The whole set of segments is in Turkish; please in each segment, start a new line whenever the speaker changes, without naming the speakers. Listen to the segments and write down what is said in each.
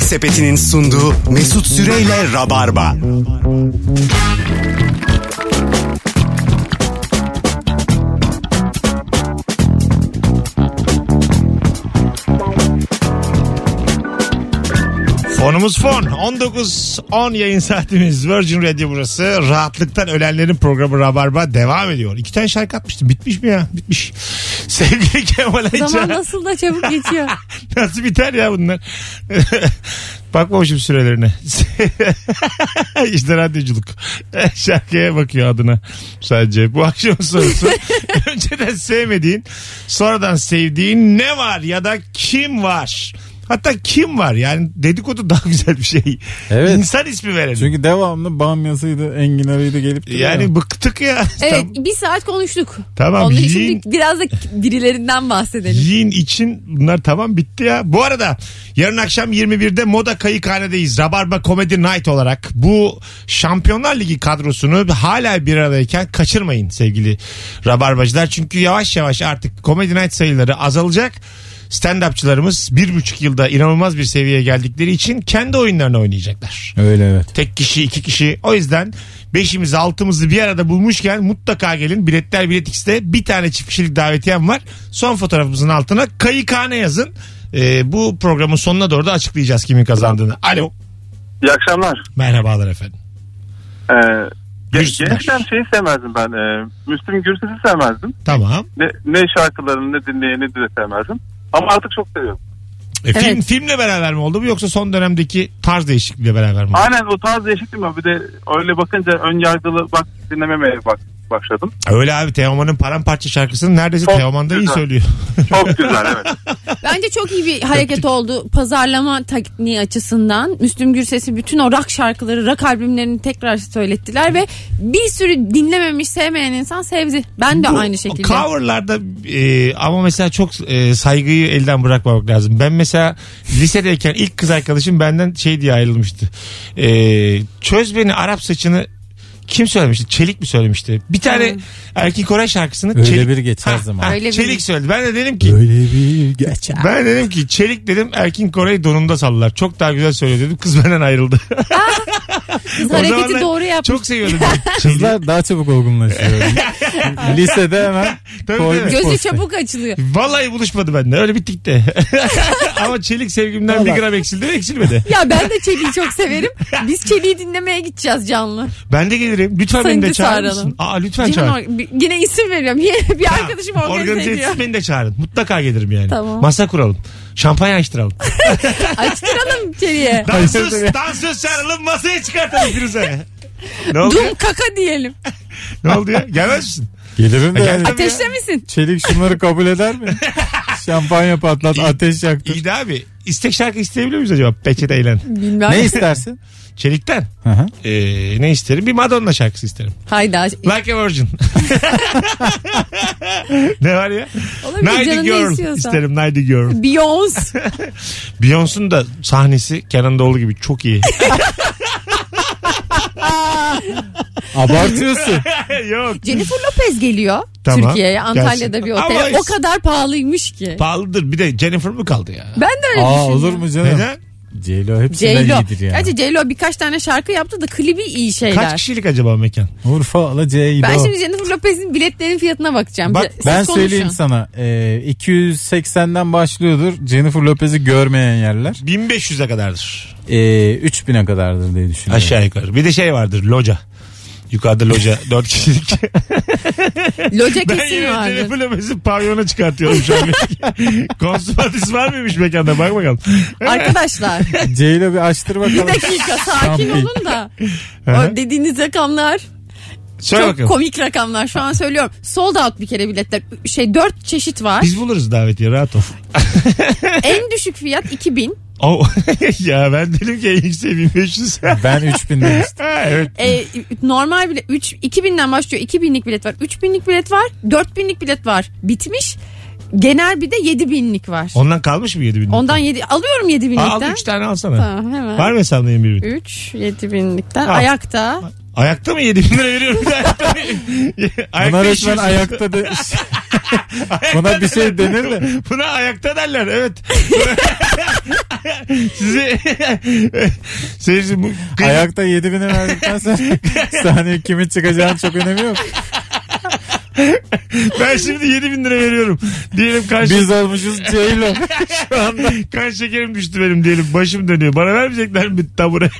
Sepeti'nin sunduğu Mesut Süreyle Rabarba.
Fonumuz fon. 19.10 yayın saatimiz. Virgin Radio burası. Rahatlıktan ölenlerin programı Rabarba devam ediyor. İki tane şarkı atmıştım. Bitmiş mi ya? Bitmiş. Sevgili Kemal
Zaman
Ayça.
nasıl da çabuk geçiyor.
Nasıl biter ya bunlar? Bakmamışım sürelerine. işte radyoculuk. Şarkıya bakıyor adına sadece. Bu akşam sorusu. Önceden sevmediğin, sonradan sevdiğin ne var ya da kim var? Hatta kim var? Yani dedikodu daha güzel bir şey.
Evet.
İnsan ismi verelim.
Çünkü devamlı bamyasıydı, enginarıydı gelip duruyor.
yani bıktık ya.
Evet
Tam-
bir saat konuştuk.
Tamam,
Onun
yiyin.
için biraz da birilerinden bahsedelim.
Yiyin için bunlar tamam bitti ya. Bu arada yarın akşam 21'de Moda Kayıkhane'deyiz. Rabarba Comedy Night olarak bu Şampiyonlar Ligi kadrosunu hala bir aradayken kaçırmayın sevgili Rabarbacılar. Çünkü yavaş yavaş artık Comedy Night sayıları azalacak. Stand-upçılarımız bir buçuk yılda inanılmaz bir seviyeye geldikleri için kendi oyunlarını oynayacaklar.
Öyle evet.
Tek kişi, iki kişi. O yüzden beşimizi, altımızı bir arada bulmuşken mutlaka gelin. Biletler Bilet X'te bir tane çift kişilik davetiyem var. Son fotoğrafımızın altına kayıkhane yazın. Ee, bu programın sonuna doğru da açıklayacağız kimin kazandığını. Alo.
İyi akşamlar.
Merhabalar efendim.
Ee, ge-
Buyursunlar.
Gençken şeyi sevmezdim ben. E, Müslüm Gürses'i sevmezdim.
Tamam.
Ne, ne şarkılarını ne dinleyeni de sevmezdim. Ama artık çok seviyorum.
E, film,
Evet.
filmle beraber mi oldu bu yoksa son dönemdeki tarz değişikliğiyle beraber mi oldu?
Aynen o tarz değişik değil mi? Bir de öyle bakınca ön yargılı bak dinlememeye bak başladım.
Öyle abi Teoman'ın paramparça şarkısını neredeyse
Çok
Teoman'dan iyi
güzel.
söylüyor.
Çok güzel evet.
Bence çok iyi bir hareket oldu pazarlama tekniği açısından. Müslüm Gürses'i bütün o rock şarkıları, rock albümlerini tekrar söylettiler ve bir sürü dinlememiş, sevmeyen insan sevdi. Ben de
Bu
aynı şekilde.
Coverlarda e, ama mesela çok e, saygıyı elden bırakmamak lazım. Ben mesela lisedeyken ilk kız arkadaşım benden şey diye ayrılmıştı. E, çöz beni Arap saçını kim söylemişti? Çelik mi söylemişti? Bir tane Erkin Koray şarkısını
Öyle
Çelik
bir geçer zaman.
Hmm. Öyle bir-
Çelik söyledi. Ben de dedim ki
Böyle bir geçer.
ben dedim ki Çelik dedim Erkin Koray'ı donunda sallar. Çok daha güzel söylüyor dedim. Kız benden ayrıldı.
Kız
O zamanlar
hareketi doğru yapmış.
Çok seviyordum. ben Çelik'i.
Kızlar daha çabuk olgunlaşıyor. Lisede hemen
Tabii,
koymuş
tabii.
Gözü
poster.
çabuk açılıyor.
Vallahi buluşmadı bende. Öyle bittik de. Ama çelik sevgimden
Vallahi.
bir gram eksildi mi eksilmedi.
Ya ben de Çelik'i çok severim. Biz Çelik'i dinlemeye gideceğiz canlı.
Ben de gelirim. Lütfen beni de
Sayıncı
çağırır
çağıralım.
mısın? Aa lütfen
Cihan
çağır.
or- bir- yine isim veriyorum. Yine bir arkadaşım
Ha,
organize ediyor.
etsin, beni de çağırın. Mutlaka gelirim yani.
Tamam.
Masa kuralım. Şampanya açtıralım.
Açtıralım Çelik'e.
Dansöz, dansöz çağıralım masaya çıkartalım Firuze. ne oldu? ya?
Dum kaka diyelim.
Ne oldu ya? Gelmez misin?
Gelirim de
Ha,
yani.
gel-
Ateşte misin?
Çelik şunları kabul eder mi? Şampanya patlat, ateş yaktı.
İyi de abi. İstek şarkı isteyebiliyor muyuz acaba? Peçete eğlen.
Bilmem.
Ne istersin?
Çelikten.
Hı hı.
Ee, ne isterim? Bir Madonna şarkısı isterim.
Hayda.
Like a Virgin. ne var ya?
Olabilir
Nighty
canın ne
Girl
istiyorsa.
isterim. Nighty Girl.
Beyoncé.
Beyoncé'nun da sahnesi Kenan Doğulu gibi çok iyi.
Abartıyorsun.
Yok.
Jennifer Lopez geliyor
Tamam.
Türkiye'ye Antalya'da
Gelsin.
bir
Ama
otele.
işte-
O kadar pahalıymış ki.
Pahalıdır. Bir de Jennifer mı kaldı ya?
ben de öyle
Aa
düşünüyorum.
olur mu canım?
şey Neden?
Ceylo hepsinden
J-Lo.
iyidir ya.
Gerçi J-Lo birkaç tane şarkı yaptı da klibi iyi şeyler.
Kaç kişilik acaba mekan?
Urfa'lı Ceylo.
ben şimdi Jennifer Lopez'in biletlerin fiyatına bakacağım.
Bak,
Siz
Ben
konuşun.
söyleyeyim sana. Ee, 280'den başlıyordur. Jennifer Lopez'i görmeyen yerler.
1500'e kadardır.
Ee, 3000'e kadardır diye düşünüyorum.
Aşağı yukarı. Bir de şey vardır. Loca. Yukarıda loca. Dört kişilik.
Loca
ben
kesin
yine
vardı.
telefon ömesi pavyona çıkartıyorum şu an. Konsumatis var mıymış mekanda? Bak bakalım.
Arkadaşlar
Ceylo bir açtır bakalım.
bir dakika sakin
Kampi.
olun da. O dediğiniz rakamlar
Söyle
çok
bakalım.
komik rakamlar. Şu an söylüyorum. Sold out bir kere biletler. Şey dört çeşit var.
Biz buluruz davetiye rahat ol.
en düşük fiyat 2000.
Oh, ya ben dedim ki en yükseği 1500.
Ben 3000 demiştim.
Ha, evet.
E, normal bilet 3 2000'den başlıyor. 2000'lik bilet var. 3000'lik bilet var. 4000'lik bilet var. Bitmiş. Genel bir de 7000'lik var.
Ondan kalmış mı 7000?
Ondan 7 alıyorum
Al
7000'likten.
3 tane alsana.
Tamam hemen.
Var mı hesabında 21 bin?
3 7000'likten
Al.
ayakta
Ayakta mı 7 bin lira veriyorum? Bir de ayakta mı? Ayakta
Buna resmen
işiyorsun.
ayakta de... Buna bir şey denir de.
Buna ayakta derler evet. Sizi seyirci bu
Ayakta 7000 lira verdikten sonra sahneye kimin çıkacağının çok önemi yok.
ben şimdi 7 bin lira veriyorum. Diyelim kan,
Biz olmuşuz Ceylo.
şu anda kan şekerim düştü benim diyelim. Başım dönüyor. Bana vermeyecekler mi bir tabure?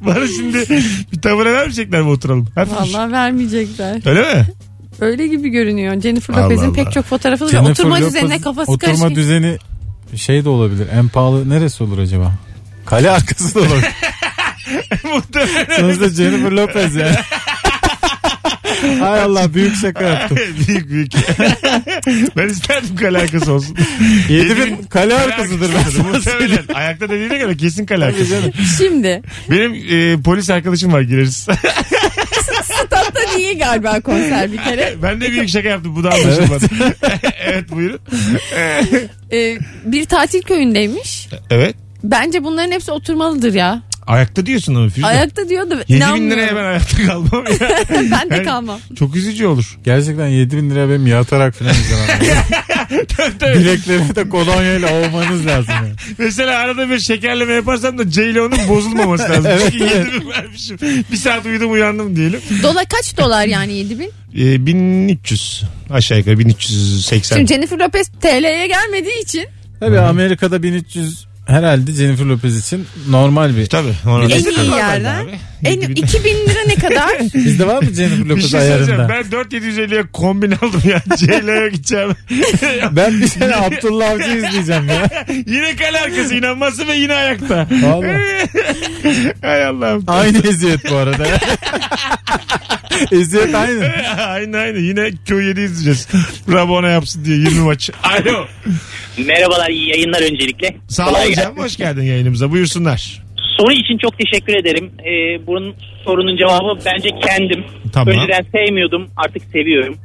Bana şimdi bir tabure vermeyecekler mi oturalım? Hafif düşün.
Vallahi vermeyecekler.
Öyle mi?
Öyle gibi görünüyor. Jennifer
Allah
Lopez'in
Allah.
pek çok fotoğrafı da
Jennifer
oturma
Lopez-
düzenine kafası
Oturma
karışık.
düzeni şey de olabilir. En pahalı neresi olur acaba? Kale arkası da olabilir.
Muhtemelen
Sonuçta Jennifer Lopez yani. Hay Allah büyük şaka yaptım.
büyük büyük. ben isterdim kale arkası olsun.
7000 kale arkasıdır ben sana söyleyeyim.
Muhtemelen. Ayakta dediğine göre kesin kale arkası.
Şimdi
Benim e, polis arkadaşım var gireriz.
statta değil galiba konser bir kere.
ben de büyük şaka yaptım bu da anlaşılmadı. evet buyurun.
Ee, bir tatil köyündeymiş.
Evet.
Bence bunların hepsi oturmalıdır ya.
Ayakta diyorsun ama Firuze.
Ayakta diyordu.
7 bin
İnanmıyorum.
liraya ben ayakta kalmam ya.
ben de
Yani-
kalmam.
Çok üzücü olur.
Gerçekten 7000 lira benim yatarak falan izlemem. Bileklerimi de kolonyayla ovmanız lazım. yani.
Mesela arada bir şekerleme yaparsam da Ceylan'ın bozulmaması lazım. Çünkü 7 bin vermişim. Bir saat uyudum uyandım diyelim.
Dola kaç dolar yani 7000? bin?
E, 1300 aşağı yukarı 1380.
Şimdi Jennifer Lopez TL'ye gelmediği için
Tabii Amerika'da 1300 herhalde Jennifer Lopez için normal bir.
Tabii. orada-
En iyi yerden. en 2000 lira ne kadar?
Bizde var mı
Bir
Jennifer Lopez
şey söyleyeceğim.
ayarında?
Ben 4750'ye kombin aldım ya. Ceylan'a gideceğim.
Ben bir sene Abdullah Avcı izleyeceğim ya.
yine kale arkası inanması ve yine ayakta.
Vallahi.
Hay Allah'ım.
Aynı eziyet bu arada. eziyet aynı.
Aynı aynı. Yine köy 7 izleyeceğiz. Rabona yapsın diye 20 maç. Alo.
Merhabalar iyi yayınlar öncelikle.
Sağ ol
Kolay
hocam.
gelsin.
Hoş geldin yayınımıza. Buyursunlar.
Soru için çok teşekkür ederim. Ee, bunun sorunun cevabı bence kendim.
Tamam.
Önceden sevmiyordum artık seviyorum.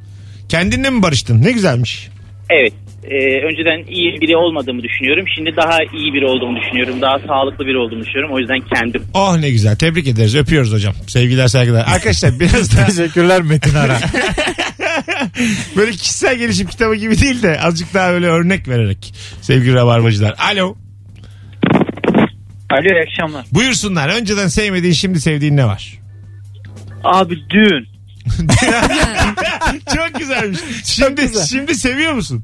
Kendinle mi barıştın? Ne güzelmiş.
Evet e, önceden iyi biri olmadığımı düşünüyorum. Şimdi daha iyi biri olduğumu düşünüyorum. Daha sağlıklı biri olduğumu düşünüyorum. O yüzden kendim.
Oh ne güzel. Tebrik ederiz. Öpüyoruz hocam. Sevgiler saygılar. Arkadaşlar biraz daha
Teşekkürler Metin Ara.
böyle kişisel gelişim kitabı gibi değil de azıcık daha öyle örnek vererek. Sevgili rabarbacılar. Alo.
Alo iyi akşamlar.
Buyursunlar. Önceden sevmediğin şimdi sevdiğin ne var?
Abi düğün.
Çok güzelmiş. Şimdi
güzel.
şimdi seviyor musun?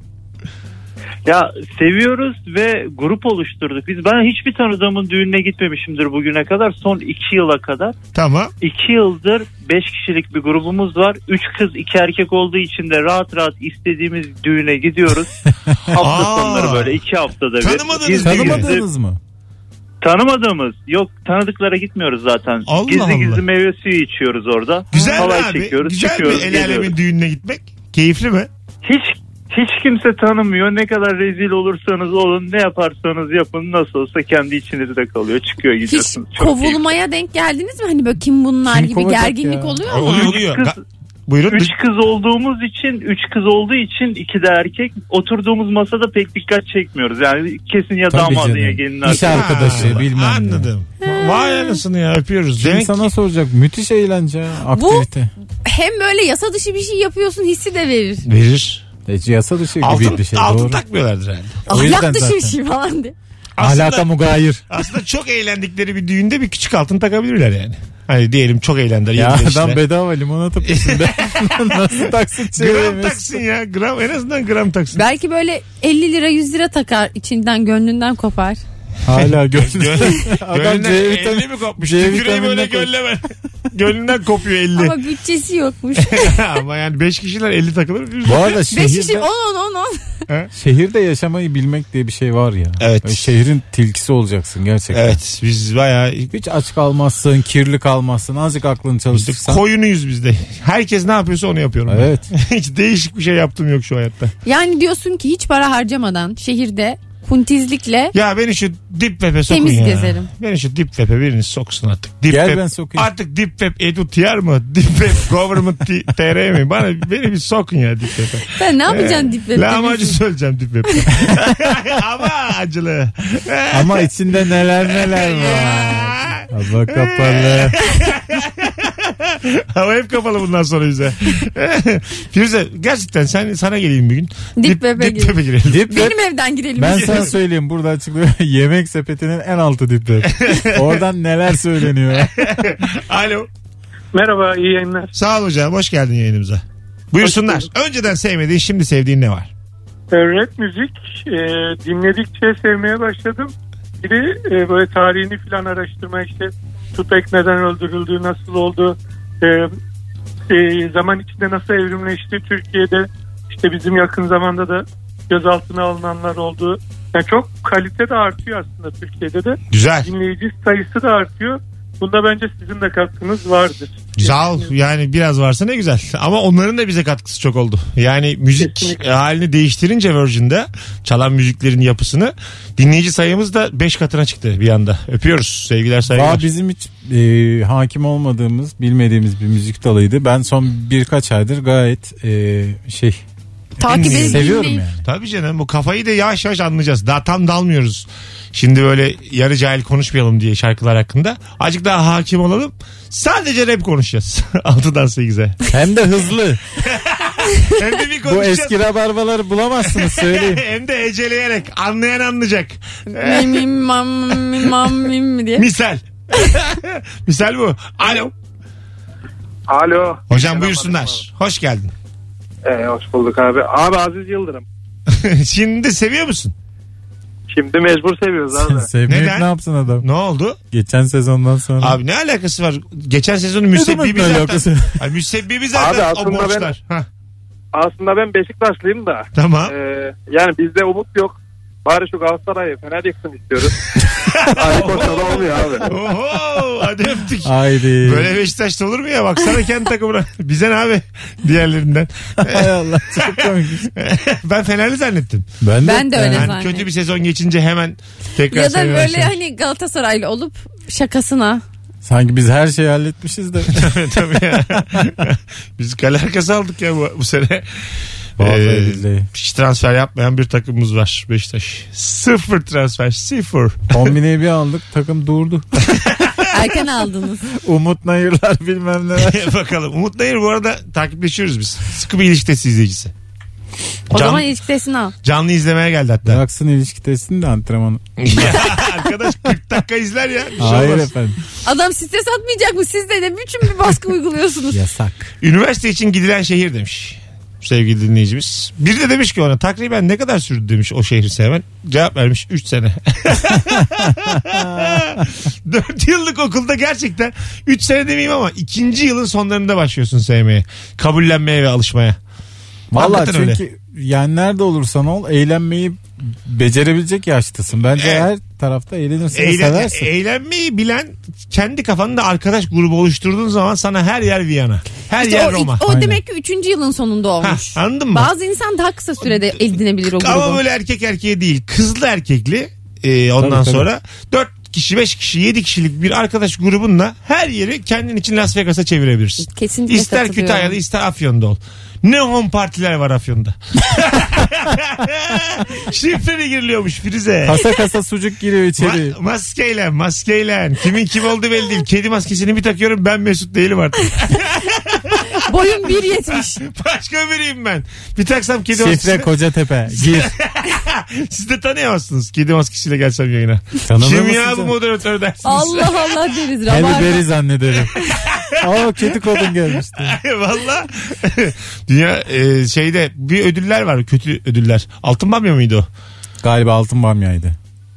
Ya seviyoruz ve grup oluşturduk. Biz ben hiçbir tanıdığımın düğününe gitmemişimdir bugüne kadar. Son iki yıla kadar.
Tamam.
iki yıldır beş kişilik bir grubumuz var. Üç kız iki erkek olduğu için de rahat rahat istediğimiz düğüne gidiyoruz. hafta
Aa.
sonları böyle iki haftada bir.
Tanımadığınız
Gizli gizli-
Tanımadınız mı?
Tanımadığımız. Yok tanıdıklara gitmiyoruz zaten.
Allah
gizli
Allah.
gizli meyve suyu içiyoruz orada.
Güzel mi
Halay
abi?
çekiyoruz,
Güzel mi
çıkıyoruz,
el alemin
geliyoruz.
düğününe gitmek? Keyifli mi?
Hiç hiç kimse tanımıyor. Ne kadar rezil olursanız olun, ne yaparsanız yapın. Nasıl olsa kendi içinizde kalıyor. Çıkıyor
Hiç
gidiyorsunuz. Çok iyi.
kovulmaya denk geldiniz mi? Hani böyle kim bunlar
Kim
gibi
kovacak
gerginlik
ya?
oluyor mu?
Oluyor oluyor.
Kız-
Ga- Buyurun.
Üç kız olduğumuz için, üç kız olduğu için iki de erkek. Oturduğumuz masada pek dikkat çekmiyoruz. Yani kesin ya
Tabii
damadı ya
canım.
gelin
İş
arkadaşı.
arkadaşı
Ha,
bilmem ne.
Anladım. Vay anasını ya öpüyoruz.
Kim
Demek
sana soracak? Müthiş eğlence, aktivite.
Hem böyle yasa dışı bir şey yapıyorsun hissi de verir.
verir.
E, yasa dışı gibi
Altın,
bir şey.
altın
doğru.
takmıyorlardır herhalde.
O yüzden
Ahlak dışı bir
zaten.
şey falan diye.
Ahlaka mugayir.
Aslında çok eğlendikleri bir düğünde bir küçük altın takabilirler yani. Hani diyelim çok eğlendiler.
Ya
yediler işte.
adam bedava limonata peşinde. Nasıl taksın
Gram
çeviremiyorsun?
taksın ya. Gram en azından gram taksın.
Belki böyle 50 lira 100 lira takar içinden gönlünden kopar.
Hala gözünü. adam
Gönlünden
C
50
vitamini
mi kopmuş?
C
Tüküreği böyle
vitamininden
gönleme. Gönlünden kopuyor 50.
Ama bütçesi yokmuş.
Ama yani 5 kişiler 50 takılır.
Bu arada
5 kişi
şehirde,
10 10 10 10.
şehirde yaşamayı bilmek diye bir şey var ya.
Evet.
Böyle Şehrin tilkisi olacaksın gerçekten.
Evet biz bayağı
Hiç aç kalmazsın, kirli kalmazsın. Azıcık aklını çalıştırsan.
koyunuyuz biz de. Herkes ne yapıyorsa onu yapıyorum. ben.
Evet.
Hiç değişik bir şey yaptım yok şu hayatta.
Yani diyorsun ki hiç para harcamadan şehirde kuntizlikle
Ya beni şu dip web'e sokun
Temiz
ya.
gezerim.
Beni şu dip web'e biriniz soksun artık. Dip
Gel
web-
ben sokayım.
Artık dip web edu tiyar mı? Dip web government T- tr mi? Bana, beni bir sokun ya dip web'e.
sen ne yapacaksın dip web'de?
Ee, Lahmacun
bilmiyorum.
söyleyeceğim dip web'e. Ama acılı.
Ama içinde neler neler var.
Ya.
Allah kapalı.
Hava hep kapalı bundan sonra bize. Firuze gerçekten sen sana geleyim bir gün.
Dip bepe
dip
girelim.
bepe girelim.
Dip de-
Benim evden girelim.
ben
biz.
sana söyleyeyim burada açıklıyorum. Yemek sepetinin en altı dipte. Oradan neler söyleniyor.
Alo.
Merhaba iyi yayınlar.
Sağ ol hocam. Hoş geldin yayınımıza. Buyursunlar. Önceden sevmediğin şimdi sevdiğin ne var?
Ee, Rap müzik e, dinledikçe sevmeye başladım. Bir de e, böyle tarihini falan araştırma işte Tupac neden öldürüldü, nasıl oldu, e, e, zaman içinde nasıl evrimleşti Türkiye'de. işte bizim yakın zamanda da gözaltına alınanlar oldu. Yani çok kalite de artıyor aslında Türkiye'de de.
Güzel.
Dinleyici sayısı da artıyor. Bunda bence sizin de katkınız vardır.
Sağ ol. Yani biraz varsa ne güzel. Ama onların da bize katkısı çok oldu. Yani müzik e,
Kesinlikle.
halini değiştirince Virgin'de çalan müziklerin yapısını dinleyici sayımız da 5 katına çıktı bir anda. Öpüyoruz. Sevgiler saygılar.
Daha bizim hiç e, hakim olmadığımız, bilmediğimiz bir müzik dalıydı. Ben son birkaç aydır gayet e, şey
Takip edip
seviyorum
dinleyip-
yani.
Tabii canım bu kafayı da yavaş yavaş anlayacağız. Daha tam dalmıyoruz. Şimdi böyle yarı cahil konuşmayalım diye şarkılar hakkında. Azıcık daha hakim olalım. Sadece rap konuşacağız. 6'dan 8'e.
Hem de hızlı.
Hem de bir
Bu
konuşacağız.
eski rabarbaları bulamazsınız söyleyeyim.
Hem de heceleyerek. Anlayan anlayacak.
Mim, mim, mam, mim, mam, mim mi diye.
Misal. Misal bu. Alo.
Alo.
Hocam buyursunlar. Hoş geldin.
Ee, hoş bulduk abi. Abi Aziz Yıldırım.
Şimdi seviyor musun?
Şimdi mecbur seviyoruz abi.
Sevmeyip
Neden?
ne yapsın adam?
Ne oldu?
Geçen sezondan sonra.
Abi ne alakası var? Geçen sezonun
Ne demek
müsebbibi
ne
zaten.
alakası?
Ay, müsebbibi zaten
Abi
o
aslında ben-
borçlar. Hah,
Aslında ben Beşiktaşlıyım da.
tamam.
Ee, yani bizde umut yok. Bari şu Galatasaray'ı Fener yıksın istiyoruz. Aynı koşada olmuyor abi.
Oho hadi öptük.
Haydi.
Böyle Beşiktaş'ta olur mu ya? Baksana kendi takımına. Bize ne abi diğerlerinden.
Hay Allah çok komik.
ben Fenerli zannettim.
Ben de,
Ben de öyle
Yani
zannettim.
kötü bir sezon geçince hemen tekrar
Ya da
sevmeye
böyle
başlamış.
hani Galatasaraylı olup şakasına.
Sanki biz her şeyi halletmişiz de.
Tabii ya. Biz kale arkası aldık ya bu, bu sene.
Vallahi
Ee,
billahi.
Hiç transfer yapmayan bir takımımız var Beşiktaş. Sıfır transfer sıfır.
Kombineyi bir aldık takım durdu.
Erken aldınız.
Umut nayırlar bilmem neler.
E, Bakalım. Umut Nayır bu arada takipleşiyoruz biz. Sıkı bir ilişkidesi izleyicisi.
O
Can-
zaman ilişkidesini al.
Canlı izlemeye geldi hatta.
Bıraksın ilişki testini de antrenmanı.
Arkadaş 40 dakika izler ya. Bir şey
Hayır
olmaz.
efendim.
Adam stres atmayacak mı? Siz de ne biçim bir baskı uyguluyorsunuz?
Yasak.
Üniversite için gidilen şehir demiş sevgili dinleyicimiz. Bir de demiş ki ona takriben ne kadar sürdü demiş o şehri sevmen. Cevap vermiş 3 sene. 4 yıllık okulda gerçekten 3 sene demeyeyim ama ikinci yılın sonlarında başlıyorsun sevmeye. Kabullenmeye ve alışmaya.
Valla
Hakikaten öyle.
çünkü yani nerede olursan ol eğlenmeyi becerebilecek yaştasın. Bence
Evet.
her tarafta eğlenirsin ve
Eğlen, e-
seversin.
eğlenmeyi bilen kendi kafanda arkadaş grubu oluşturduğun zaman sana her yer Viyana. Her
İşte
yer
o,
Roma.
o
Aynen.
demek ki 3. yılın sonunda olmuş.
Hah, anladın mı?
Bazı insan daha kısa sürede edinebilir o grubu.
Ama böyle erkek erkeğe değil. Kızlı erkekli. Ee, ondan
Tabii, tabii.
sonra 4 kişi 5 kişi 7 kişilik bir arkadaş grubunla her yeri kendin için Las Vegas'a çevirebilirsin.
Kesinlikle
İster
katılıyorum.
Kütahya'da ister Afyon'da ol. Ne home partiler var Afyon'da. Şifreli giriliyormuş Firuze.
Kasa kasa sucuk giriyor içeri.
Ma- maskeyle maskeyle. Kimin kim olduğu belli değil. Kedi maskesini bir takıyorum ben Mesut değilim artık.
Boyum 1.70.
Başka biriyim ben. Bir taksam kedi
Şifre
maskesini.
Kocatepe. Gir.
Siz de tanıyamazsınız. Kedi maskesiyle gelsem yayına.
Tanımıyor
Kim
musun
ya bu
canım?
moderatör dersiniz.
Allah Allah deriz.
Halle
Rabarba.
Berry zannederim. Aa kedi kodun gelmişti.
Valla. Dünya e, şeyde bir ödüller var. Kötü ödüller. Altın Bamya mıydı o?
Galiba altın bamyaydı.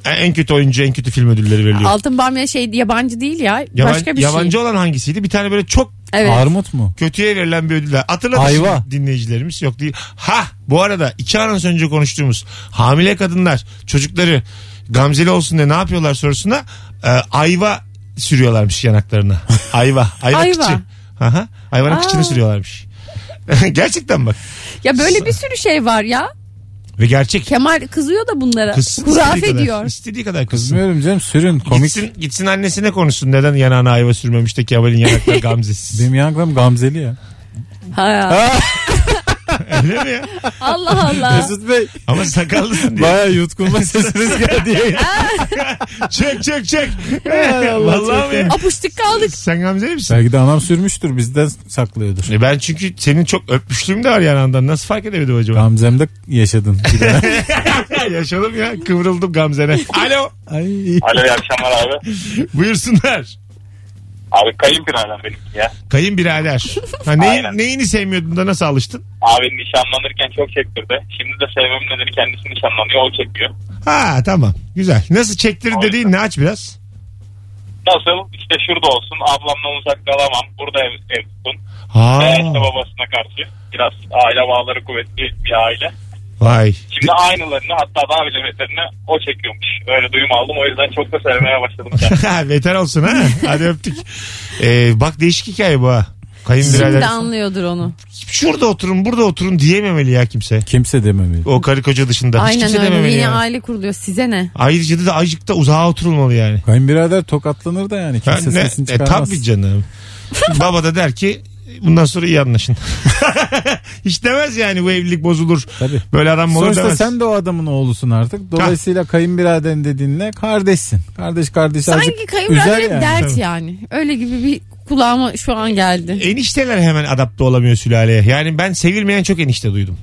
En- En kötü oyuncu, en kötü film ödülleri veriliyor.
Altın Bamya şey yabancı değil ya.
Yaban-
başka bir
yabancı
şey.
olan hangisiydi? Bir tane böyle çok
Evet.
Armut mu?
kötüye verilen bir ödüller. Hatırladın
Ayva.
şimdi dinleyicilerimiz. Yok değil. Ha bu arada iki anons önce konuştuğumuz hamile kadınlar çocukları gamzeli olsun diye ne yapıyorlar sorusuna e, ayva sürüyorlarmış yanaklarına. Ayva. Ayva,
Ayva.
kıçı. Aha, hayvanın
Aa.
kıçını sürüyorlarmış. Gerçekten bak.
Ya böyle bir sürü şey var ya.
Ve gerçek.
Kemal kızıyor da bunlara.
Kızsın istediği
Hurafe
şey kadar.
diyor.
İstediği kadar kızsın.
Bilmiyorum canım sürün komik.
Gitsin, gitsin annesine konuşsun. Neden yanağına ayva sürmemiş de Kemal'in yanakları gamzesiz.
Benim yanaklarım gamzeli ya.
Ha.
Öyle mi ya?
Allah Allah.
Mesut Bey
Ama sakallısın diye.
baya yutkunma sesiniz geldi. yayına.
çek çek çek.
Ay Allah,
Vallahi
çok
mi?
Apıştık kaldık.
Sen Gamze'li misin?
Belki de anam sürmüştür bizden saklıyordur.
E Ben çünkü senin çok öpmüşlüğüm de var yanından. Nasıl fark edemedim acaba?
Gamzem'de yaşadın. Bir de.
Yaşadım ya. Kıvrıldım Gamze'ne. Alo.
Ay.
Alo iyi akşamlar abi.
Buyursunlar.
Abi kayınpiradan benimki ya.
Kayınbirader. Ha, neyi-
Aynen.
neyini sevmiyordun da nasıl alıştın?
Abi nişanlanırken çok çektirdi. Şimdi de sevmem nedeni kendisi nişanlanıyor o çekiyor.
Ha tamam. Güzel. Nasıl çektir
Aynen.
dediğin ne aç biraz.
Nasıl? İşte şurada olsun ablamla uzak kalamam. Burada ev, ev tutun.
Ha.
Veya işte babasına karşı biraz aile bağları kuvvetli bir aile.
Vay.
Şimdi aynılarını hatta daha bile beterini o çekiyormuş. Öyle duyum aldım o yüzden çok da sevmeye başladım. kendisini.
Ha, Beter olsun ha. Hadi öptük. Ee, bak değişik hikaye bu ha.
Şimdi
Kayınbirader.
anlıyordur onu.
Şurada oturun burada oturun diyememeli ya kimse.
Kimse dememeli.
O karı koca dışında. Hiç
Aynen
kimse
öyle.
dememeli
Yine
yani.
aile kuruluyor. Size ne?
Ayrıca da acıkta uzağa oturulmalı yani.
Kayınbirader tokatlanır da yani
Ha,
kimse
ne?
sesini
E,
çıkarmaz.
tabii canım. Baba da der ki bundan sonra iyi anlaşın. Hiç demez yani bu evlilik bozulur.
Tabii.
Böyle adam mı olur
Sonuçta
demez.
sen de o adamın oğlusun artık. Dolayısıyla kayınbiraderin dediğinle kardeşsin. Kardeş kardeş
Sanki
azıcık üzer
kayınbiraderin
yani.
Tabii.
dert yani. Öyle gibi bir kulağıma şu an geldi.
Enişteler hemen adapte olamıyor sülaleye. Yani ben sevilmeyen çok enişte duydum.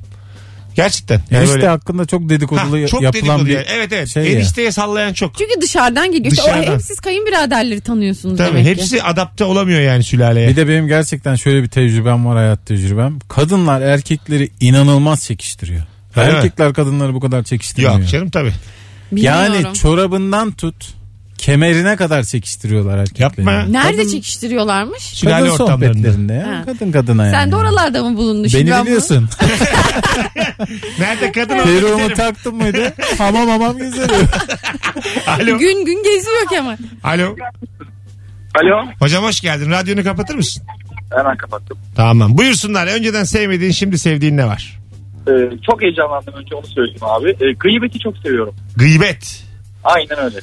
Gerçekten. Yani
Enişte
böyle-
hakkında çok
Ha,
dedikodulu
çok
yapılan
dedikodu
bir
yani. Evet evet.
şey ya.
Enişteye sallayan çok.
Çünkü dışarıdan geliyor. İşte
Dışarıdan.
o hep siz kayınbiraderleri tanıyorsunuz
Tabii
demek ki.
hepsi adapte olamıyor yani sülaleye.
Bir de benim gerçekten şöyle bir tecrübem var hayat tecrübem. Kadınlar erkekleri inanılmaz çekiştiriyor.
Öyle mi?
Erkekler kadınları bu kadar çekiştirmiyor.
Yok canım tabii.
Bilmiyorum.
yani çorabından tut kemerine kadar çekiştiriyorlar erkekleri.
Yapma ya.
Nerede
Kadın-
çekiştiriyorlarmış?
Sülale
Kadın
ortamlarında.
sohbetlerinde ya.
Ha.
Kadın kadına yani.
Sen de oralarda mı bulundun şimdi?
Beni
ben bunu-
biliyorsun.
Nerede kadın orada
Peruğumu
giderim.
taktım mıydı? hamam hamam gezerim.
Alo.
Gün gün geziyor Kemal.
Alo.
Alo.
Hocam hoş geldin. Radyonu kapatır mısın?
Hemen kapattım.
Tamam. Buyursunlar. Önceden sevmediğin şimdi sevdiğin ne var?
Ee, çok heyecanlandım önce onu söyleyeyim abi. Ee, gıybeti çok seviyorum.
Gıybet.
Aynen öyle.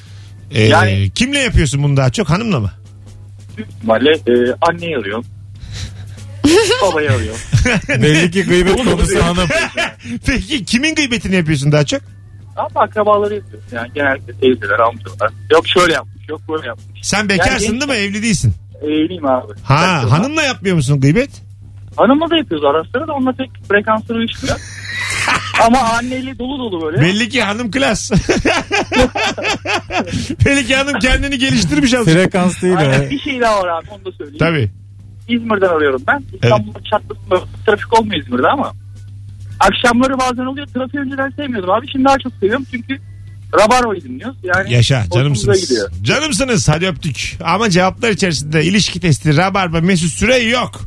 Ee,
Yani-
Kimle yapıyorsun bunu daha çok? Hanımla mı?
Büyük ihtimalle e, anneyi arıyorum. Babayı arıyorum.
Belli ki gıybet konusu hanım.
Peki kimin gıybetini yapıyorsun daha çok?
Ama akrabaları yapıyorum. Yani genellikle teyzeler, amcalar. Yok şöyle yapmış, yok böyle yapmış.
Sen bekarsın
Yani-
değil mi? Evli değilsin.
Evliyim abi.
Ha
Kaçırma.
hanımla yapmıyor musun gıybet?
Hanımla da yapıyoruz ara sıra da onunla pek frekanslı bir ilişki yok. Ama anneyle dolu dolu böyle.
Belli ki hanım klas. Belli ki hanım kendini geliştirmiş azıcık.
Frekans değil o.
Aynen, bir şey daha var abi onu da söyleyeyim.
Tabii.
İzmir'den arıyorum ben. İstanbul'da çatlasında trafik olmuyor İzmir'de ama. Akşamları bazen oluyor. Trafiği önceden sevmiyordum abi. Şimdi daha çok seviyorum çünkü Rabarbayı dinliyoruz. Yani
Yaşa
hoşumuza
canımsınız.
gidiyor.
Canımsınız hadi öptük. Ama cevaplar içerisinde ilişki testi, rabarba, mesut süre yok.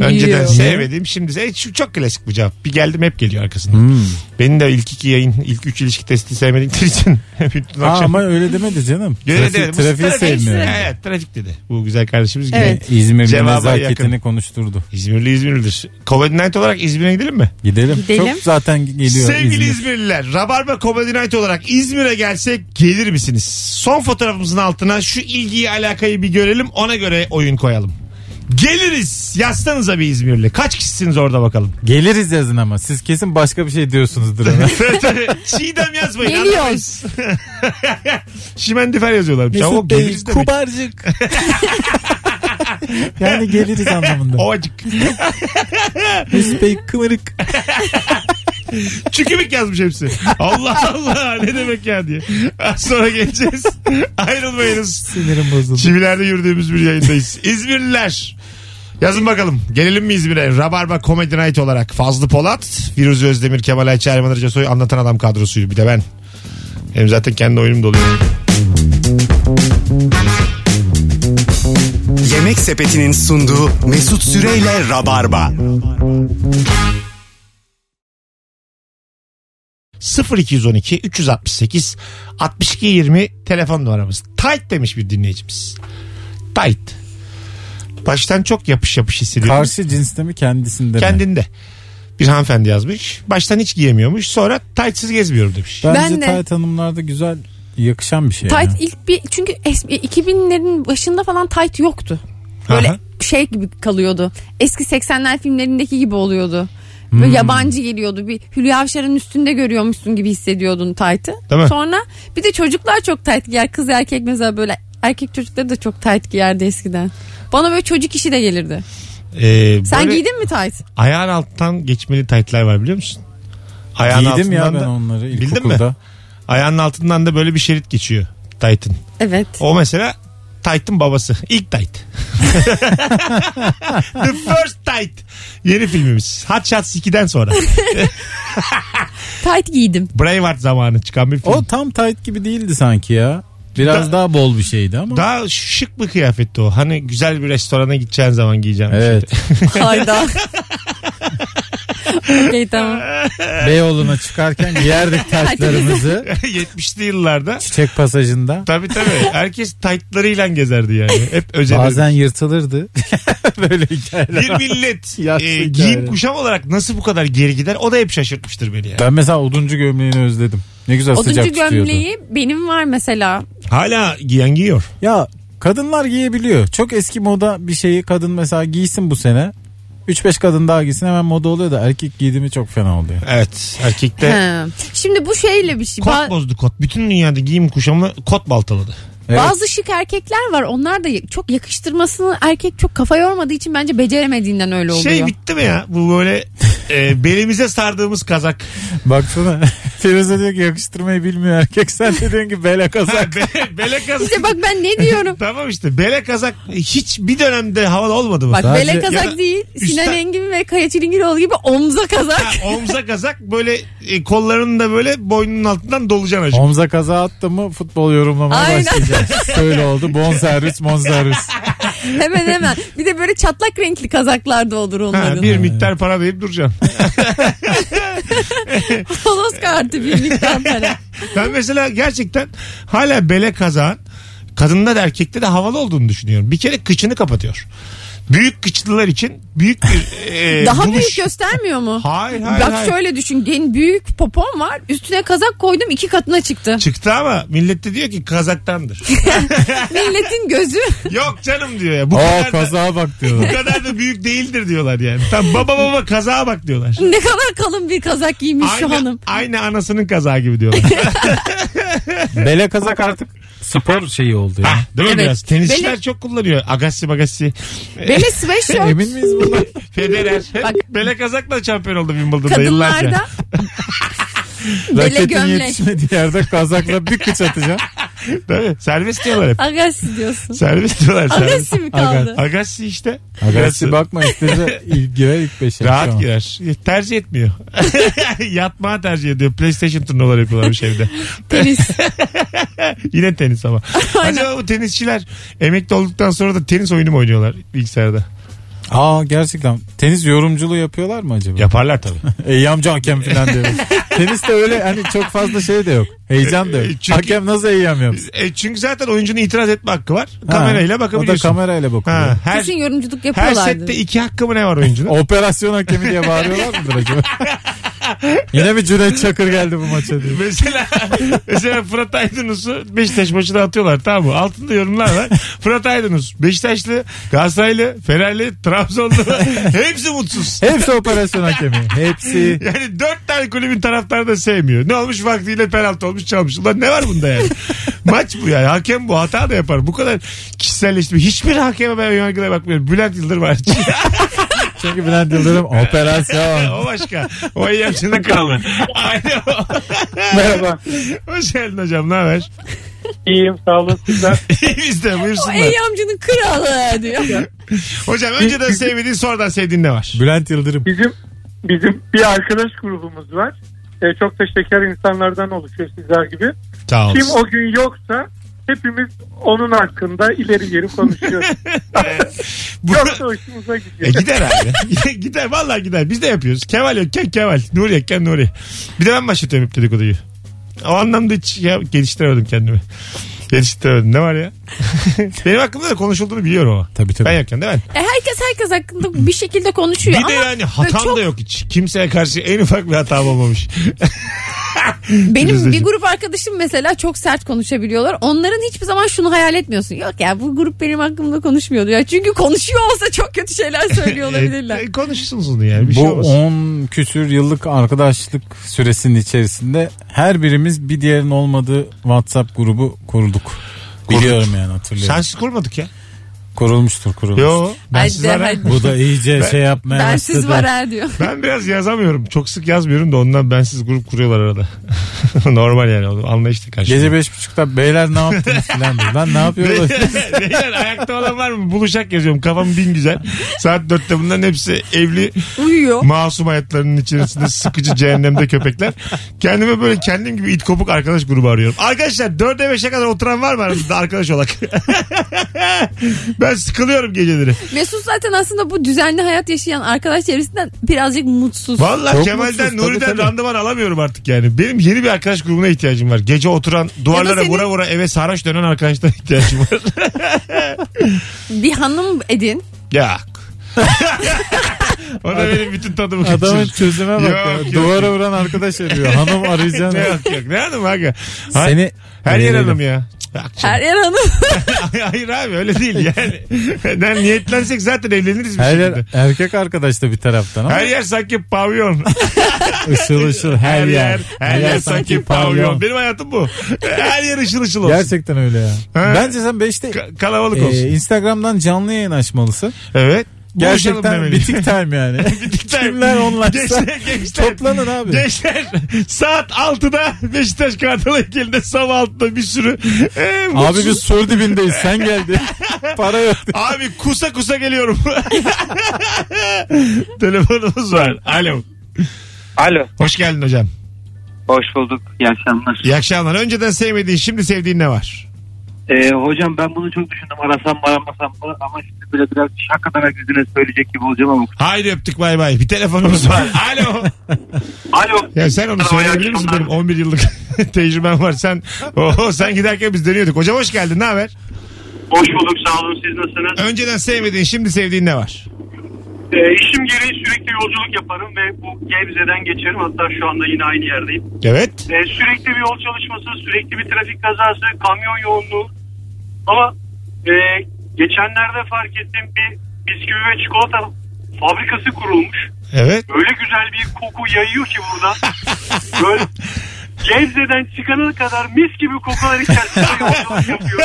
Önceden
Yok.
sevmediğim şimdi e, şu çok klasik bu cevap. Bir geldim hep geliyor arkasından.
Hmm.
Benim de ilk iki yayın, ilk üç ilişki testi sevmedikleri için. bütün
Aa,
akşam.
ama öyle demedi canım.
Öyle
Trafik,
demedim. Bu
trafiği
trafik-
sevmiyor.
Evet trafik dedi. Bu güzel kardeşimiz gibi.
Evet.
İzmir'in
Cevaba
nezaketini
yakın.
konuşturdu.
İzmirli İzmirlidir. Covid Night olarak İzmir'e gidelim mi?
Gidelim.
Gidelim.
Çok zaten geliyor
Sevgili
İzmir.
İzmirliler, Rabarba Comedy Night olarak İzmir'e gelsek gelir misiniz? Son fotoğrafımızın altına şu ilgiyi alakayı bir görelim ona göre oyun koyalım. Geliriz. Yazsanıza bir İzmirli. Kaç kişisiniz orada bakalım?
Geliriz yazın ama siz kesin başka bir şey diyorsunuzdur ona.
Çiğdem yazmayın.
Geliyoruz.
anlamayız. Şimendifer yazıyorlar. Ya o geliriz demek.
kubarcık. yani geliriz anlamında.
Ovacık.
Mesut Bey kıvırık.
Çükümük yazmış hepsi. Allah Allah ne demek ya diye. Az sonra geleceğiz. Ayrılmayınız.
Sinirim bozuldu.
Çivilerde yürüdüğümüz bir yayındayız. İzmirliler. Yazın bakalım. Gelelim mi İzmir'e? Rabarba Comedy Night olarak. Fazlı Polat, Firuze Özdemir, Kemal Ayça, Erman Arıca Soy, Anlatan Adam kadrosuydu. Bir de ben. Hem zaten kendi oyunum doluyor.
Yemek Sepeti'nin sunduğu Mesut Süreyle Rabarba.
0212 368 62 20 telefon numaramız. Tight demiş bir dinleyicimiz. Tight. Baştan çok yapış yapış hissediyorum.
Karşı cinste mi kendisinde mi?
Kendinde. Bir hanımefendi yazmış. Baştan hiç giyemiyormuş. Sonra tightsız gezmiyorum demiş.
Bence
Ben de.
tayt hanımlarda güzel yakışan bir şey. ya.
Tight ilk bir çünkü es- 2000'lerin başında falan tight yoktu. Böyle
Aha.
şey gibi kalıyordu. Eski 80'ler filmlerindeki gibi oluyordu. Böyle
Hmm.
yabancı geliyordu. Bir Hülya Avşar'ın üstünde görüyormuşsun gibi hissediyordun taytı.
Değil mi?
Sonra bir de çocuklar çok tayt giyer. Kız erkek mesela böyle erkek çocukları da çok tayt giyerdi eskiden. Bana böyle çocuk işi de gelirdi.
Ee,
Sen
böyle
giydin mi tayt?
Ayağın alttan geçmeli taytlar var biliyor musun? Ayağın
Giydim ya
altından
ben
da-
onları
Bildin mi?
ilkokulda.
Ayağının altından da böyle bir şerit geçiyor taytın.
Evet.
O mesela Tayt'ın babası. İlk Tayt. The First Tayt. Yeni filmimiz. Hot Shots 2'den sonra.
Tayt giydim.
Braveheart zamanı çıkan bir film.
O tam tight gibi değildi sanki ya. Biraz
Da-
daha bol bir şeydi ama.
Daha şık bir kıyafetti o. Hani güzel bir restorana gideceğin zaman giyeceğim.
evet.
Hayda. Okey tamam.
Beyoğlu'na çıkarken giyerdik taytlarımızı.
70'li yıllarda.
Çiçek pasajında.
Tabii tabii. Herkes taytlarıyla gezerdi yani. Hep özenirdi.
Bazen yırtılırdı. Böyle hikayeler.
Bir millet
Yatsı
e, giyim
hikayeler.
kuşam olarak nasıl bu kadar geri gider o da hep şaşırtmıştır beni yani.
Ben mesela oduncu gömleğini özledim. Ne güzel sıcak
Oduncu
tutuyordu.
gömleği benim var mesela.
Hala giyen giyiyor.
Ya kadınlar giyebiliyor. Çok eski moda bir şeyi kadın mesela giysin bu sene. 3-5 kadın daha giysin hemen moda oluyor da erkek giydiğimi çok fena oluyor.
Evet. Erkekte
He. Şimdi bu şeyle bir şey.
kot
Ba-
bozdu kot. Bütün dünyada giyim kuşamı kot baltaladı.
Evet.
Bazı şık erkekler var. Onlar da y- çok yakıştırmasını erkek çok kafa yormadığı için bence beceremediğinden öyle oluyor.
Şey bitti mi ya? Bu böyle e, belimize sardığımız kazak.
Baksana Firuze diyor ki yakıştırmayı bilmiyor erkek. Sen de diyorsun ki bela kazak.
Be- bele kazak.
İşte bak ben ne diyorum.
tamam işte bele kazak hiç bir dönemde havalı olmadı mı?
Bak
Sadece-
bele
Ya da
kazak değil.
üstten-
Sinan Engin ve Kaya Çilingiroğlu gibi omza kazak.
Ha, omza kazak böyle e, kollarını da böyle boynunun altından dolacaksın acık.
Omza kaza attı mı futbol yorumlamaya
Aynen.
başlayacağız. Şöyle oldu bonservis monservis.
hemen hemen. Bir de böyle çatlak renkli kazaklar da olur onların.
Ha, bir miktar para verip duracaksın.
Polos kartı bir miktar para.
ben mesela gerçekten hala bele kazağın kadında da erkekte de havalı olduğunu düşünüyorum. Bir kere kıçını kapatıyor. Büyük kıçlılar için büyük bir e,
Daha
buluş.
büyük göstermiyor mu?
Hayır hayır
Bak
hayır.
şöyle düşün. Gen büyük popom var. Üstüne kazak koydum iki katına çıktı.
Çıktı ama millet de diyor ki kazaktandır.
Milletin gözü.
Yok canım diyor ya. Bu
Aa
kadar da,
kaza bak
bu
diyorlar.
kadar da büyük değildir diyorlar yani. Tam baba baba kazağa bak diyorlar.
ne kadar kalın bir kazak giymiş şu
Aynı,
hanım.
aynı anasının kazağı gibi diyorlar.
Bela kazak artık spor şeyi oldu ya.
Ah, Değil mi
Evet.
biraz? Tenisçiler
Bele-
çok kullanıyor. Agassi magassi.
Bele sweatshirt.
E, Emin miyiz bunlar?
Federer.
Bak-
Bele kazakla şampiyon oldu Wimbledon'da yıllarca.
Kadınlarda
Raketin
gömlek.
yetişmediği yerde kazakla bir kıç atacağım.
Değil mi? Servis diyorlar hep.
Agassi diyorsun.
Servis diyorlar servis.
Agassi mi kaldı?
Agassi işte.
Agassi bakma istese ilk girer ilk beşe.
Rahat
Tamam.
girer. E, Tercih etmiyor. Yatmağı tercih ediyor. PlayStation turnuvaları yapıyorlarmış evde.
Tenis.
Yine tenis ama.
Aynen.
Acaba bu tenisçiler emekli olduktan sonra da tenis oyunu mu oynuyorlar bilgisayarda?
Aa gerçekten. Tenis yorumculuğu yapıyorlar mı acaba?
Yaparlar tabii.
Ey amca hakem falan diyor. Tenis de öyle hani çok fazla şey de yok. Heyecan da yok.
E, Çünkü-
Hakem nasıl eyyam yapsın?
E, çünkü zaten oyuncunun itiraz etme hakkı var.
Ha,
Kamerayla
O
bakabiliyorsun.
da kamerayla bakıyor.
Ha, her,
Kesin yorumculuk
her
yapıyorlardı.
sette iki hakkı mı ne var oyuncunun?
Operasyon hakemi diye bağırıyorlar mıdır acaba? Yine bir Cüneyt Çakır geldi bu maça diye.
mesela mesela Fırat Aydınus'u Beşiktaş maçına atıyorlar tamam mı? Altında yorumlar var. Fırat Aydınus Beşiktaşlı, Galatasaraylı, Fenerli, Trabzonlu hepsi mutsuz.
Hepsi operasyon hakemi. Hepsi.
Yani dört tane kulübün taraftarı da sevmiyor. Ne olmuş vaktiyle penaltı olmuş çalmış. Ulan ne var bunda yani? Maç bu yani. Hakem bu. Hata da yapar. Bu kadar kişiselleştirme. Hiçbir hakeme ben yargıda bakmıyorum. Bülent Yıldırım var.
Çünkü Bülent Yıldırım operasyon.
o başka. O yemsinde kaldı. Aynen o.
Merhaba.
Hoş geldin hocam. Ne haber?
İyiyim sağ olun sizler.
İyi biz de buyursunlar.
Ey amcanın kralı diyor.
Hocam önceden sevmediğin sonradan sevdiğin ne var?
Bülent Yıldırım.
Bizim bizim bir arkadaş grubumuz var. E, çok da şeker insanlardan oluşuyor sizler gibi.
Sağ
Kim o gün yoksa hepimiz onun hakkında ileri geri konuşuyoruz. Çok da hoşumuza
E
gidiyor.
gider abi. gider vallahi gider. Biz de yapıyoruz. Kemal yokken Kemal. Nuri yokken Nuri. Bir de ben başlatıyorum hep dedikoduyu. O anlamda hiç ya, geliştiremedim kendimi. Geliştiremedim. Ne var ya? Benim hakkımda da konuşulduğunu biliyorum ama.
Tabii tabii.
Ben yokken değil mi?
E herkes herkes hakkında bir şekilde konuşuyor
Bir
ama
de yani hatam
çok-
da yok hiç. Kimseye karşı en ufak bir hatam olmamış.
Benim
Rıza'cığım.
bir grup arkadaşım mesela çok sert konuşabiliyorlar. Onların hiçbir zaman şunu hayal etmiyorsun. Yok ya bu grup benim hakkımda konuşmuyordu ya. Çünkü konuşuyor olsa çok kötü şeyler söylüyor olabilirler.
E, konuşursunuz onu yani bir
Bu
şey olmaz.
10 küsür yıllık arkadaşlık süresinin içerisinde her birimiz bir diğerinin olmadığı WhatsApp grubu kurduk. Biliyorum yani hatırlıyorum.
Sensiz kurmadık ya.
Kurulmuştur kurulmuştur.
Yo ben
Hadi,
siz ara-
hadi.
Bu da iyice şey
e,
yapmaya
Bensiz
başladı.
var ha diyor.
Ben biraz yazamıyorum. Çok sık yazmıyorum da ondan bensiz grup kuruyorlar arada. Normal yani onu anlayıştık karşılıklı.
Gece beş buçukta beyler ne yaptınız filan diyor. Lan ne yapıyorlar?
Beyler ayakta olan var mı? Buluşak yazıyorum. Kafam bin güzel. Saat dörtte bunların hepsi evli
Uyuyor.
masum hayatlarının içerisinde sıkıcı cehennemde köpekler. Kendime böyle kendim gibi it kopuk arkadaş grubu arıyorum. Arkadaşlar dörde beşe kadar oturan var mı aranızda arkadaş olarak? ben sıkılıyorum geceleri.
Mesut zaten aslında bu düzenli hayat yaşayan arkadaş çevresinden birazcık mutsuz.
Vallahi
Çok mutsuz,
Kemal'den
tabii,
Nuri'den
tabii.
randıman alamıyorum artık yani. Benim yeni bir arkadaş grubuna ihtiyacım var. Gece oturan duvarlara
senin-
vura vura eve sarhoş dönen arkadaşlara ihtiyacım var.
Bir hanım edin.
Yok. o da benim bütün tadımı kaçırır.
Adamın çözüme bak ya.
Yok, yok.
Duvara vuran arkadaş arıyor. Hanım arayacağını.
Ne yok yok. Ne hanım aga? Ha-
Seni
Her yer hanım ya. Cık, akşam.
Her yer hanım.
Hayır abi öyle değil yani. Ben niyetlensek zaten evleniriz bir
Her
şekilde.
yer erkek arkadaş da bir taraftan ama
Her yer sanki pavyon.
ışıl ışıl her yer.
Her yer sanki pavyon. Benim hayatım bu. Her yer ışıl ışıl olsun.
Gerçekten öyle ya.
Ha.
Bence sen 5'te
Ka- kalabalık olsun.
e, Instagram'dan canlı yayın açmalısın.
evet. Buluşalım
Gerçekten
demeli.
bitik time yani.
Bitik time.
Kimler onlarsa
Gençler, gençler.
toplanın abi.
Gençler saat 6'da Beşiktaş Kartal Heykeli'nde sabah 6'da bir sürü e,
Abi
mutsuz-
biz sur dibindeyiz sen geldin. Para yok.
Abi kusa kusa geliyorum. Telefonumuz var. Alo.
Alo.
Hoş geldin hocam.
Hoş bulduk. İyi akşamlar.
İyi akşamlar. Önceden sevmediğin, şimdi sevdiğin ne var?
Ee, hocam ben bunu çok düşündüm. Arasam mı aramasam mı? Ama şimdi böyle biraz şakadan yüzüne söyleyecek gibi olacağım ama.
Haydi öptük bay bay. Bir telefonumuz var. Alo.
Alo.
Ya sen onu söyleyebilir misin? Benim 11 yıllık tecrübem var. Sen oho, sen giderken biz dönüyorduk. Hocam hoş geldin. Ne haber?
Hoş bulduk. Sağ olun. Siz nasılsınız?
Önceden sevmediğin, şimdi sevdiğin ne var?
Ee, işim gereği sürekli yolculuk yaparım ve bu Gebze'den geçerim. Hatta şu anda yine aynı yerdeyim.
Evet.
Ee, sürekli bir yol çalışması, sürekli bir trafik kazası, kamyon yoğunluğu. Ama e, geçenlerde fark ettim bir bisküvi ve çikolata fabrikası kurulmuş.
Evet.
Öyle güzel bir koku yayıyor ki buradan. Böyle Gebze'den çıkana kadar mis gibi kokular içerisinde yolculuk yapıyor.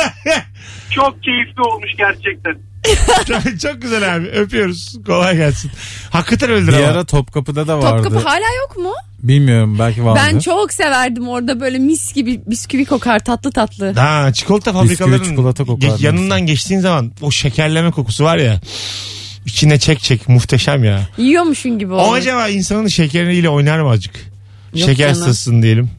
Çok keyifli olmuş gerçekten.
çok, çok güzel abi. Öpüyoruz. Kolay gelsin. Hakikaten öldür
Bir
ama.
ara Topkapı'da da vardı.
Topkapı hala yok mu?
Bilmiyorum belki vardı.
Ben çok severdim orada böyle mis gibi bisküvi kokar tatlı tatlı.
Ha çikolata
Bisküvi,
fabrikalarının
çikolata kokar
ge- yanından geçtiğin zaman o şekerleme kokusu var ya. İçine çek çek muhteşem ya.
Yiyormuşun gibi
O
oldu.
acaba insanın şekeriyle oynar mı azıcık?
Yok
Şeker
canım.
sızsın diyelim.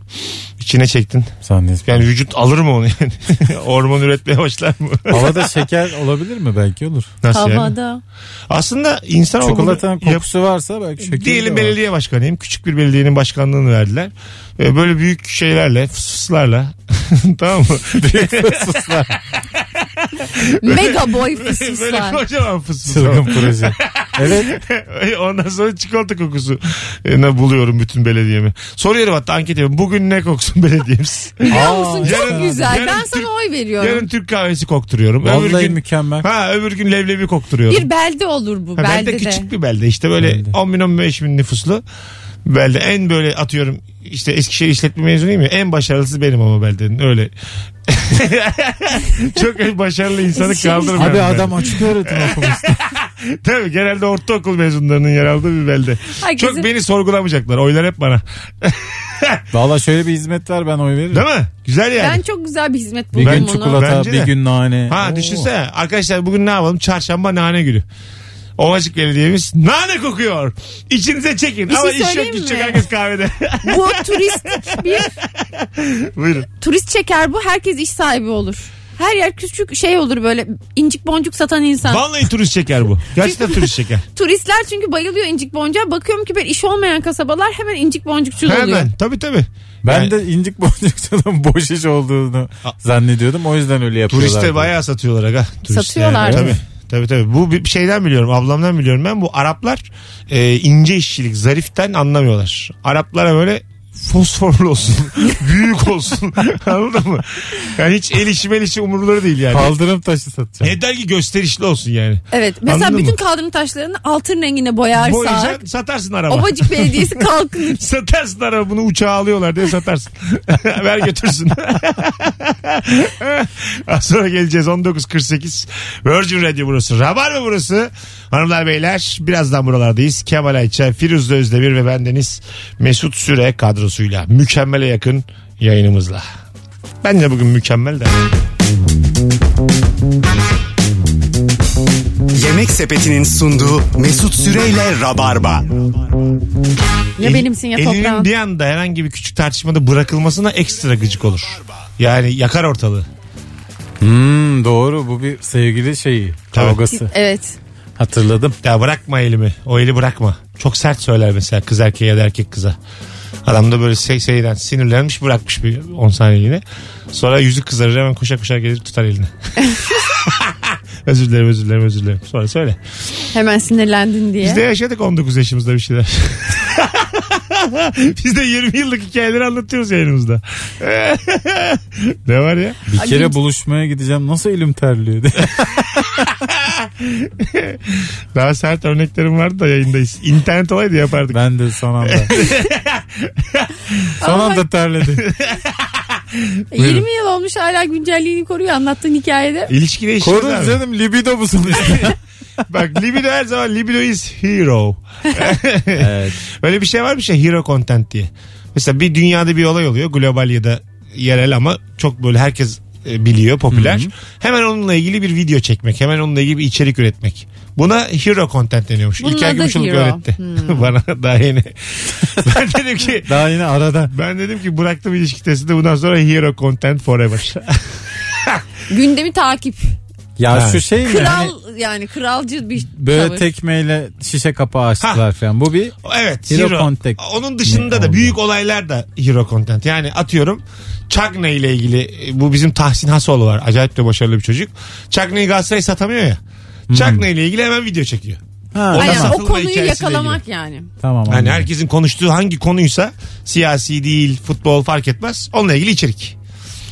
İçine çektin.
Sahnesi.
Yani vücut alır mı onu yani? Hormon üretmeye başlar mı?
Havada şeker olabilir mi? Belki olur.
Nasıl yani?
Havada.
Aslında insan
Çikolatanın
yap-
kokusu varsa belki şeker de
Diyelim
var.
belediye başkanıyım. Küçük bir belediyenin başkanlığını verdiler. Ee, Böyle büyük şeylerle, fısfıslarla. tamam mı?
Mega boy
Böyle
fısfıslar.
kocaman fısfıs.
Çılgın proje. Evet.
Ondan sonra çikolata kokusu e, ne buluyorum bütün belediyemi. Soruyorum hatta anket yapıyorum. Bugün ne koksun belediyemiz?
Biliyor musun?
Aa,
Çok
yarın-
güzel.
yarın
Ben
Türk-
sana oy veriyorum.
Yarın Türk kahvesi kokturuyorum. öbür
Vallahi
gün,
mükemmel.
ha, öbür gün leblebi kokturuyorum.
Bir belde olur bu.
Ha,
belde
belde
de.
küçük bir belde işte böyle
Belde.
10 bin 15 bin nüfuslu belde en böyle atıyorum işte Eskişehir işletme mezunuyum ya en başarılısı benim ama beldenin öyle çok başarılı insanı
Eskişehir
kaldırmıyorum.
Abi
ben.
adam açık öğretim okumuştu.
Tabii genelde ortaokul mezunlarının yer aldığı bir belde.
Herkesin-
Çok beni sorgulamayacaklar. Oylar hep bana.
Valla şöyle bir hizmet var ben oy veririm.
Değil mi? Güzel yani.
Ben çok güzel bir hizmet
Bir
buldum
gün
ona.
çikolata,
Bence de.
bir gün nane.
Ha
Oo.
düşünsene arkadaşlar bugün ne yapalım? Çarşamba nane günü. Ovacık Belediye'miz nane kokuyor. İçinize çekin.
Bir şey
Ama iş yok
söyleyeyim
güç yok.
mi?
Herkes kahvede.
Bu turistik bir
Buyurun.
turist çeker bu. Herkes iş sahibi olur. Her yer küçük şey olur böyle incik boncuk satan insan.
Vallahi turist şeker bu. Gerçekten turist şeker.
Turistler çünkü bayılıyor incik boncuğa. Bakıyorum ki böyle iş olmayan kasabalar hemen incik boncukçul oluyor.
Hemen. Tabii tabii.
Ben
Yani-
de incik boncukçadan boş iş olduğunu zannediyordum. O yüzden öyle yapıyorlar.
Turiste bayağı satıyorlar aga. Turiste
Satıyorlar
yani.
değil
Tabii.
mi?
Tabii tabii. Bu bir şeyden biliyorum. Ablamdan biliyorum ben. Bu Araplar e, ince işçilik, zariften anlamıyorlar. Araplara böyle fosforlu olsun. büyük olsun. Anladın mı? Yani hiç el işi mel işi umurları değil yani.
Kaldırım taşı satacağım.
Yeter ki gösterişli olsun yani.
Evet. Mesela
Anladın
bütün
mı?
kaldırım taşlarını altın rengine boyarsak.
Boyayacaksın satarsın araba.
Obacık Belediyesi
E,
kalkınır.
Satarsın araba bunu uçağa alıyorlar diye satarsın. Ver götürsün. Az sonra geleceğiz 19.48. Virgin Radio burası. Rabar mı burası? Hanımlar beyler birazdan buralardayız. Kemal Ayça, Firuz Özdemir ve bendeniz Mesut Süre kadrosuyla. Mükemmele yakın yayınımızla. Ben de bugün mükemmel de.
Yemek Sepeti'nin sunduğu Mesut Süreyle Rabarba.
Ya benimsin ya
Elinin
toprağın.
bir anda herhangi bir küçük tartışmada bırakılmasına ekstra gıcık olur. Yani yakar ortalığı.
Hmm, doğru bu bir sevgili şeyi kavgası.
Evet.
Hatırladım.
Ya bırakma elimi. O eli bırakma. Çok sert söyler mesela kız erkeğe ya da erkek kıza. Adam da böyle şey şeyden sinirlenmiş bırakmış bir 10 saniyeliğine. Sonra yüzü kızarır hemen koşa koşa gelir tutar elini. özür dilerim özür dilerim özür dilerim. Sonra söyle.
Hemen sinirlendin diye.
Biz de yaşadık 19 yaşımızda bir şeyler. Biz de 20 yıllık hikayeleri anlatıyoruz yayınımızda. ne var ya?
Bir kere buluşmaya gideceğim nasıl elim terliyor diye.
Daha sert örneklerim vardı da yayındayız. İnternet olaydı yapardık.
ben de son anda. son anda terledi.
20 E, yıl olmuş hala güncelliğini koruyor anlattığın hikayede.
İlişki değişti.
Korun canım libido bu sonuçta.
Bak libido her zaman libido is hero.
evet.
Böyle bir şey var bir şey hero content diye. Mesela bir dünyada bir olay oluyor global ya da yerel ama çok böyle herkes e, biliyor popüler. Hemen onunla ilgili bir video çekmek, hemen onunla ilgili bir içerik üretmek. Buna hero content deniyormuş.
Bunun
İlker
adı
Gümüşoluk
hero. Hmm.
öğretti. Bana daha yeni. ben dedim ki
Daha yine arada.
ben dedim ki bıraktım ilişki testinde bundan sonra hero content forever.
Gündemi takip.
Ya
Evet.
şu şey mi? Hani
Kral yani kralcı bir
böyle
tavır.
tekmeyle şişe kapağı açtılar falan. Bu bir
Evet.
Hero content.
Onun dışında
Ne
da
oldu?
büyük olaylar da hero content. Yani atıyorum Cagney ile ilgili e, bu bizim Tahsin Hasoğlu var. Acayip de başarılı bir çocuk. Cagney'i Galatasaray satamıyor ya.
Hmm.
Cagney ile ilgili hemen video çekiyor.
ha,
O da
Aynen,
tamam.
satılma
o konuyu
hikayesine
yakalamak yani.
Tamam.
Yani
anladım.
herkesin konuştuğu hangi konuysa siyasi değil, futbol fark etmez. Onunla ilgili içerik.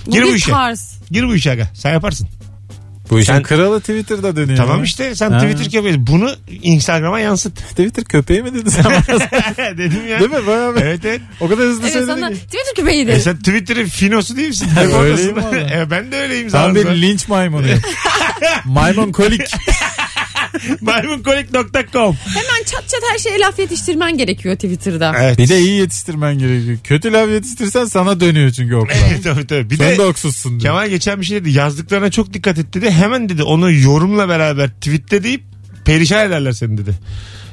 Bu
Gir bu
bir
işe.
tarz.
Gir bu işe aga. Sen yaparsın.
Bu işin
Sen-
kralı Twitter'da dönüyor.
Tamam
ya.
işte sen
Ha.
Twitter köpeği. Bunu Instagram'a yansıt.
Twitter köpeği mi dedin sen?
Dedim ya.
Değil mi? Bayağı bir-
Evet evet.
O kadar hızlı
Evet sana
söyledin ki.
Twitter köpeği
E
de.
sen Twitter'ın finosu değil misin?
Öyleyim
Oradasın.
valla.
e ben de öyleyim. zaten.
Tam bir linç maymunuyum. Maymun kolik.
Maymunkolik.com
Hemen çat çat her şeye laf yetiştirmen gerekiyor Twitter'da.
Evet.
Bir de iyi yetiştirmen gerekiyor. Kötü laf yetiştirsen sana dönüyor çünkü okula.
tabii tabii. Bir
Sen de
de
oksuzsun diyor.
Kemal geçen bir şey dedi. Yazdıklarına çok dikkat et dedi. Hemen dedi onu yorumla beraber tweetle deyip perişan ederler seni dedi.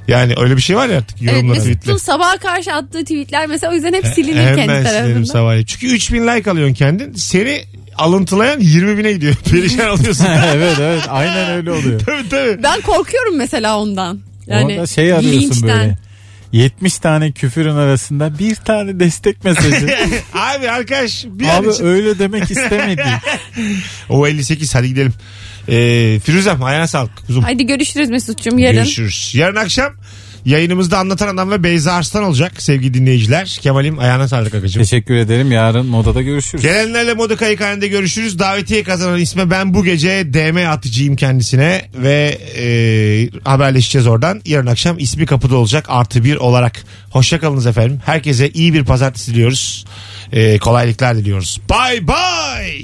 Yani öyle bir şey var ya artık
Evet
yorumla tweetle.
Mesut'un sabaha karşı attığı tweetler mesela o yüzden hep silinir
Hemen
kendi
silerim
tarafından.
sabahleyin. Çünkü 3000 like alıyorsun kendin. Seni alıntılayan 20 bine gidiyor. Perişan oluyorsun.
evet evet aynen öyle oluyor.
tabii tabii.
Ben korkuyorum mesela ondan. Yani
Orada şey arıyorsun
linçten.
böyle. 70 tane küfürün arasında bir tane destek mesajı.
Abi arkadaş bir an
Abi
için-
öyle demek istemedi.
O 58 hadi gidelim. Ee, Firuzem ayağına sağlık. Kuzum.
Haydi görüşürüz Mesut'cum yarın.
Görüşürüz. Yarın akşam yayınımızda anlatan adam ve Beyza Arslan olacak sevgili dinleyiciler. Kemal'im ayağına sağlık akıcım.
Teşekkür ederim. Yarın modada görüşürüz.
Gelenlerle moda kayıkhanede görüşürüz. Davetiye kazanan isme ben bu gece DM atıcıyım kendisine ve e, haberleşeceğiz oradan. Yarın akşam ismi kapıda olacak artı bir olarak. Hoşçakalınız efendim. Herkese iyi bir pazartesi diliyoruz. E, kolaylıklar diliyoruz. Bay bay.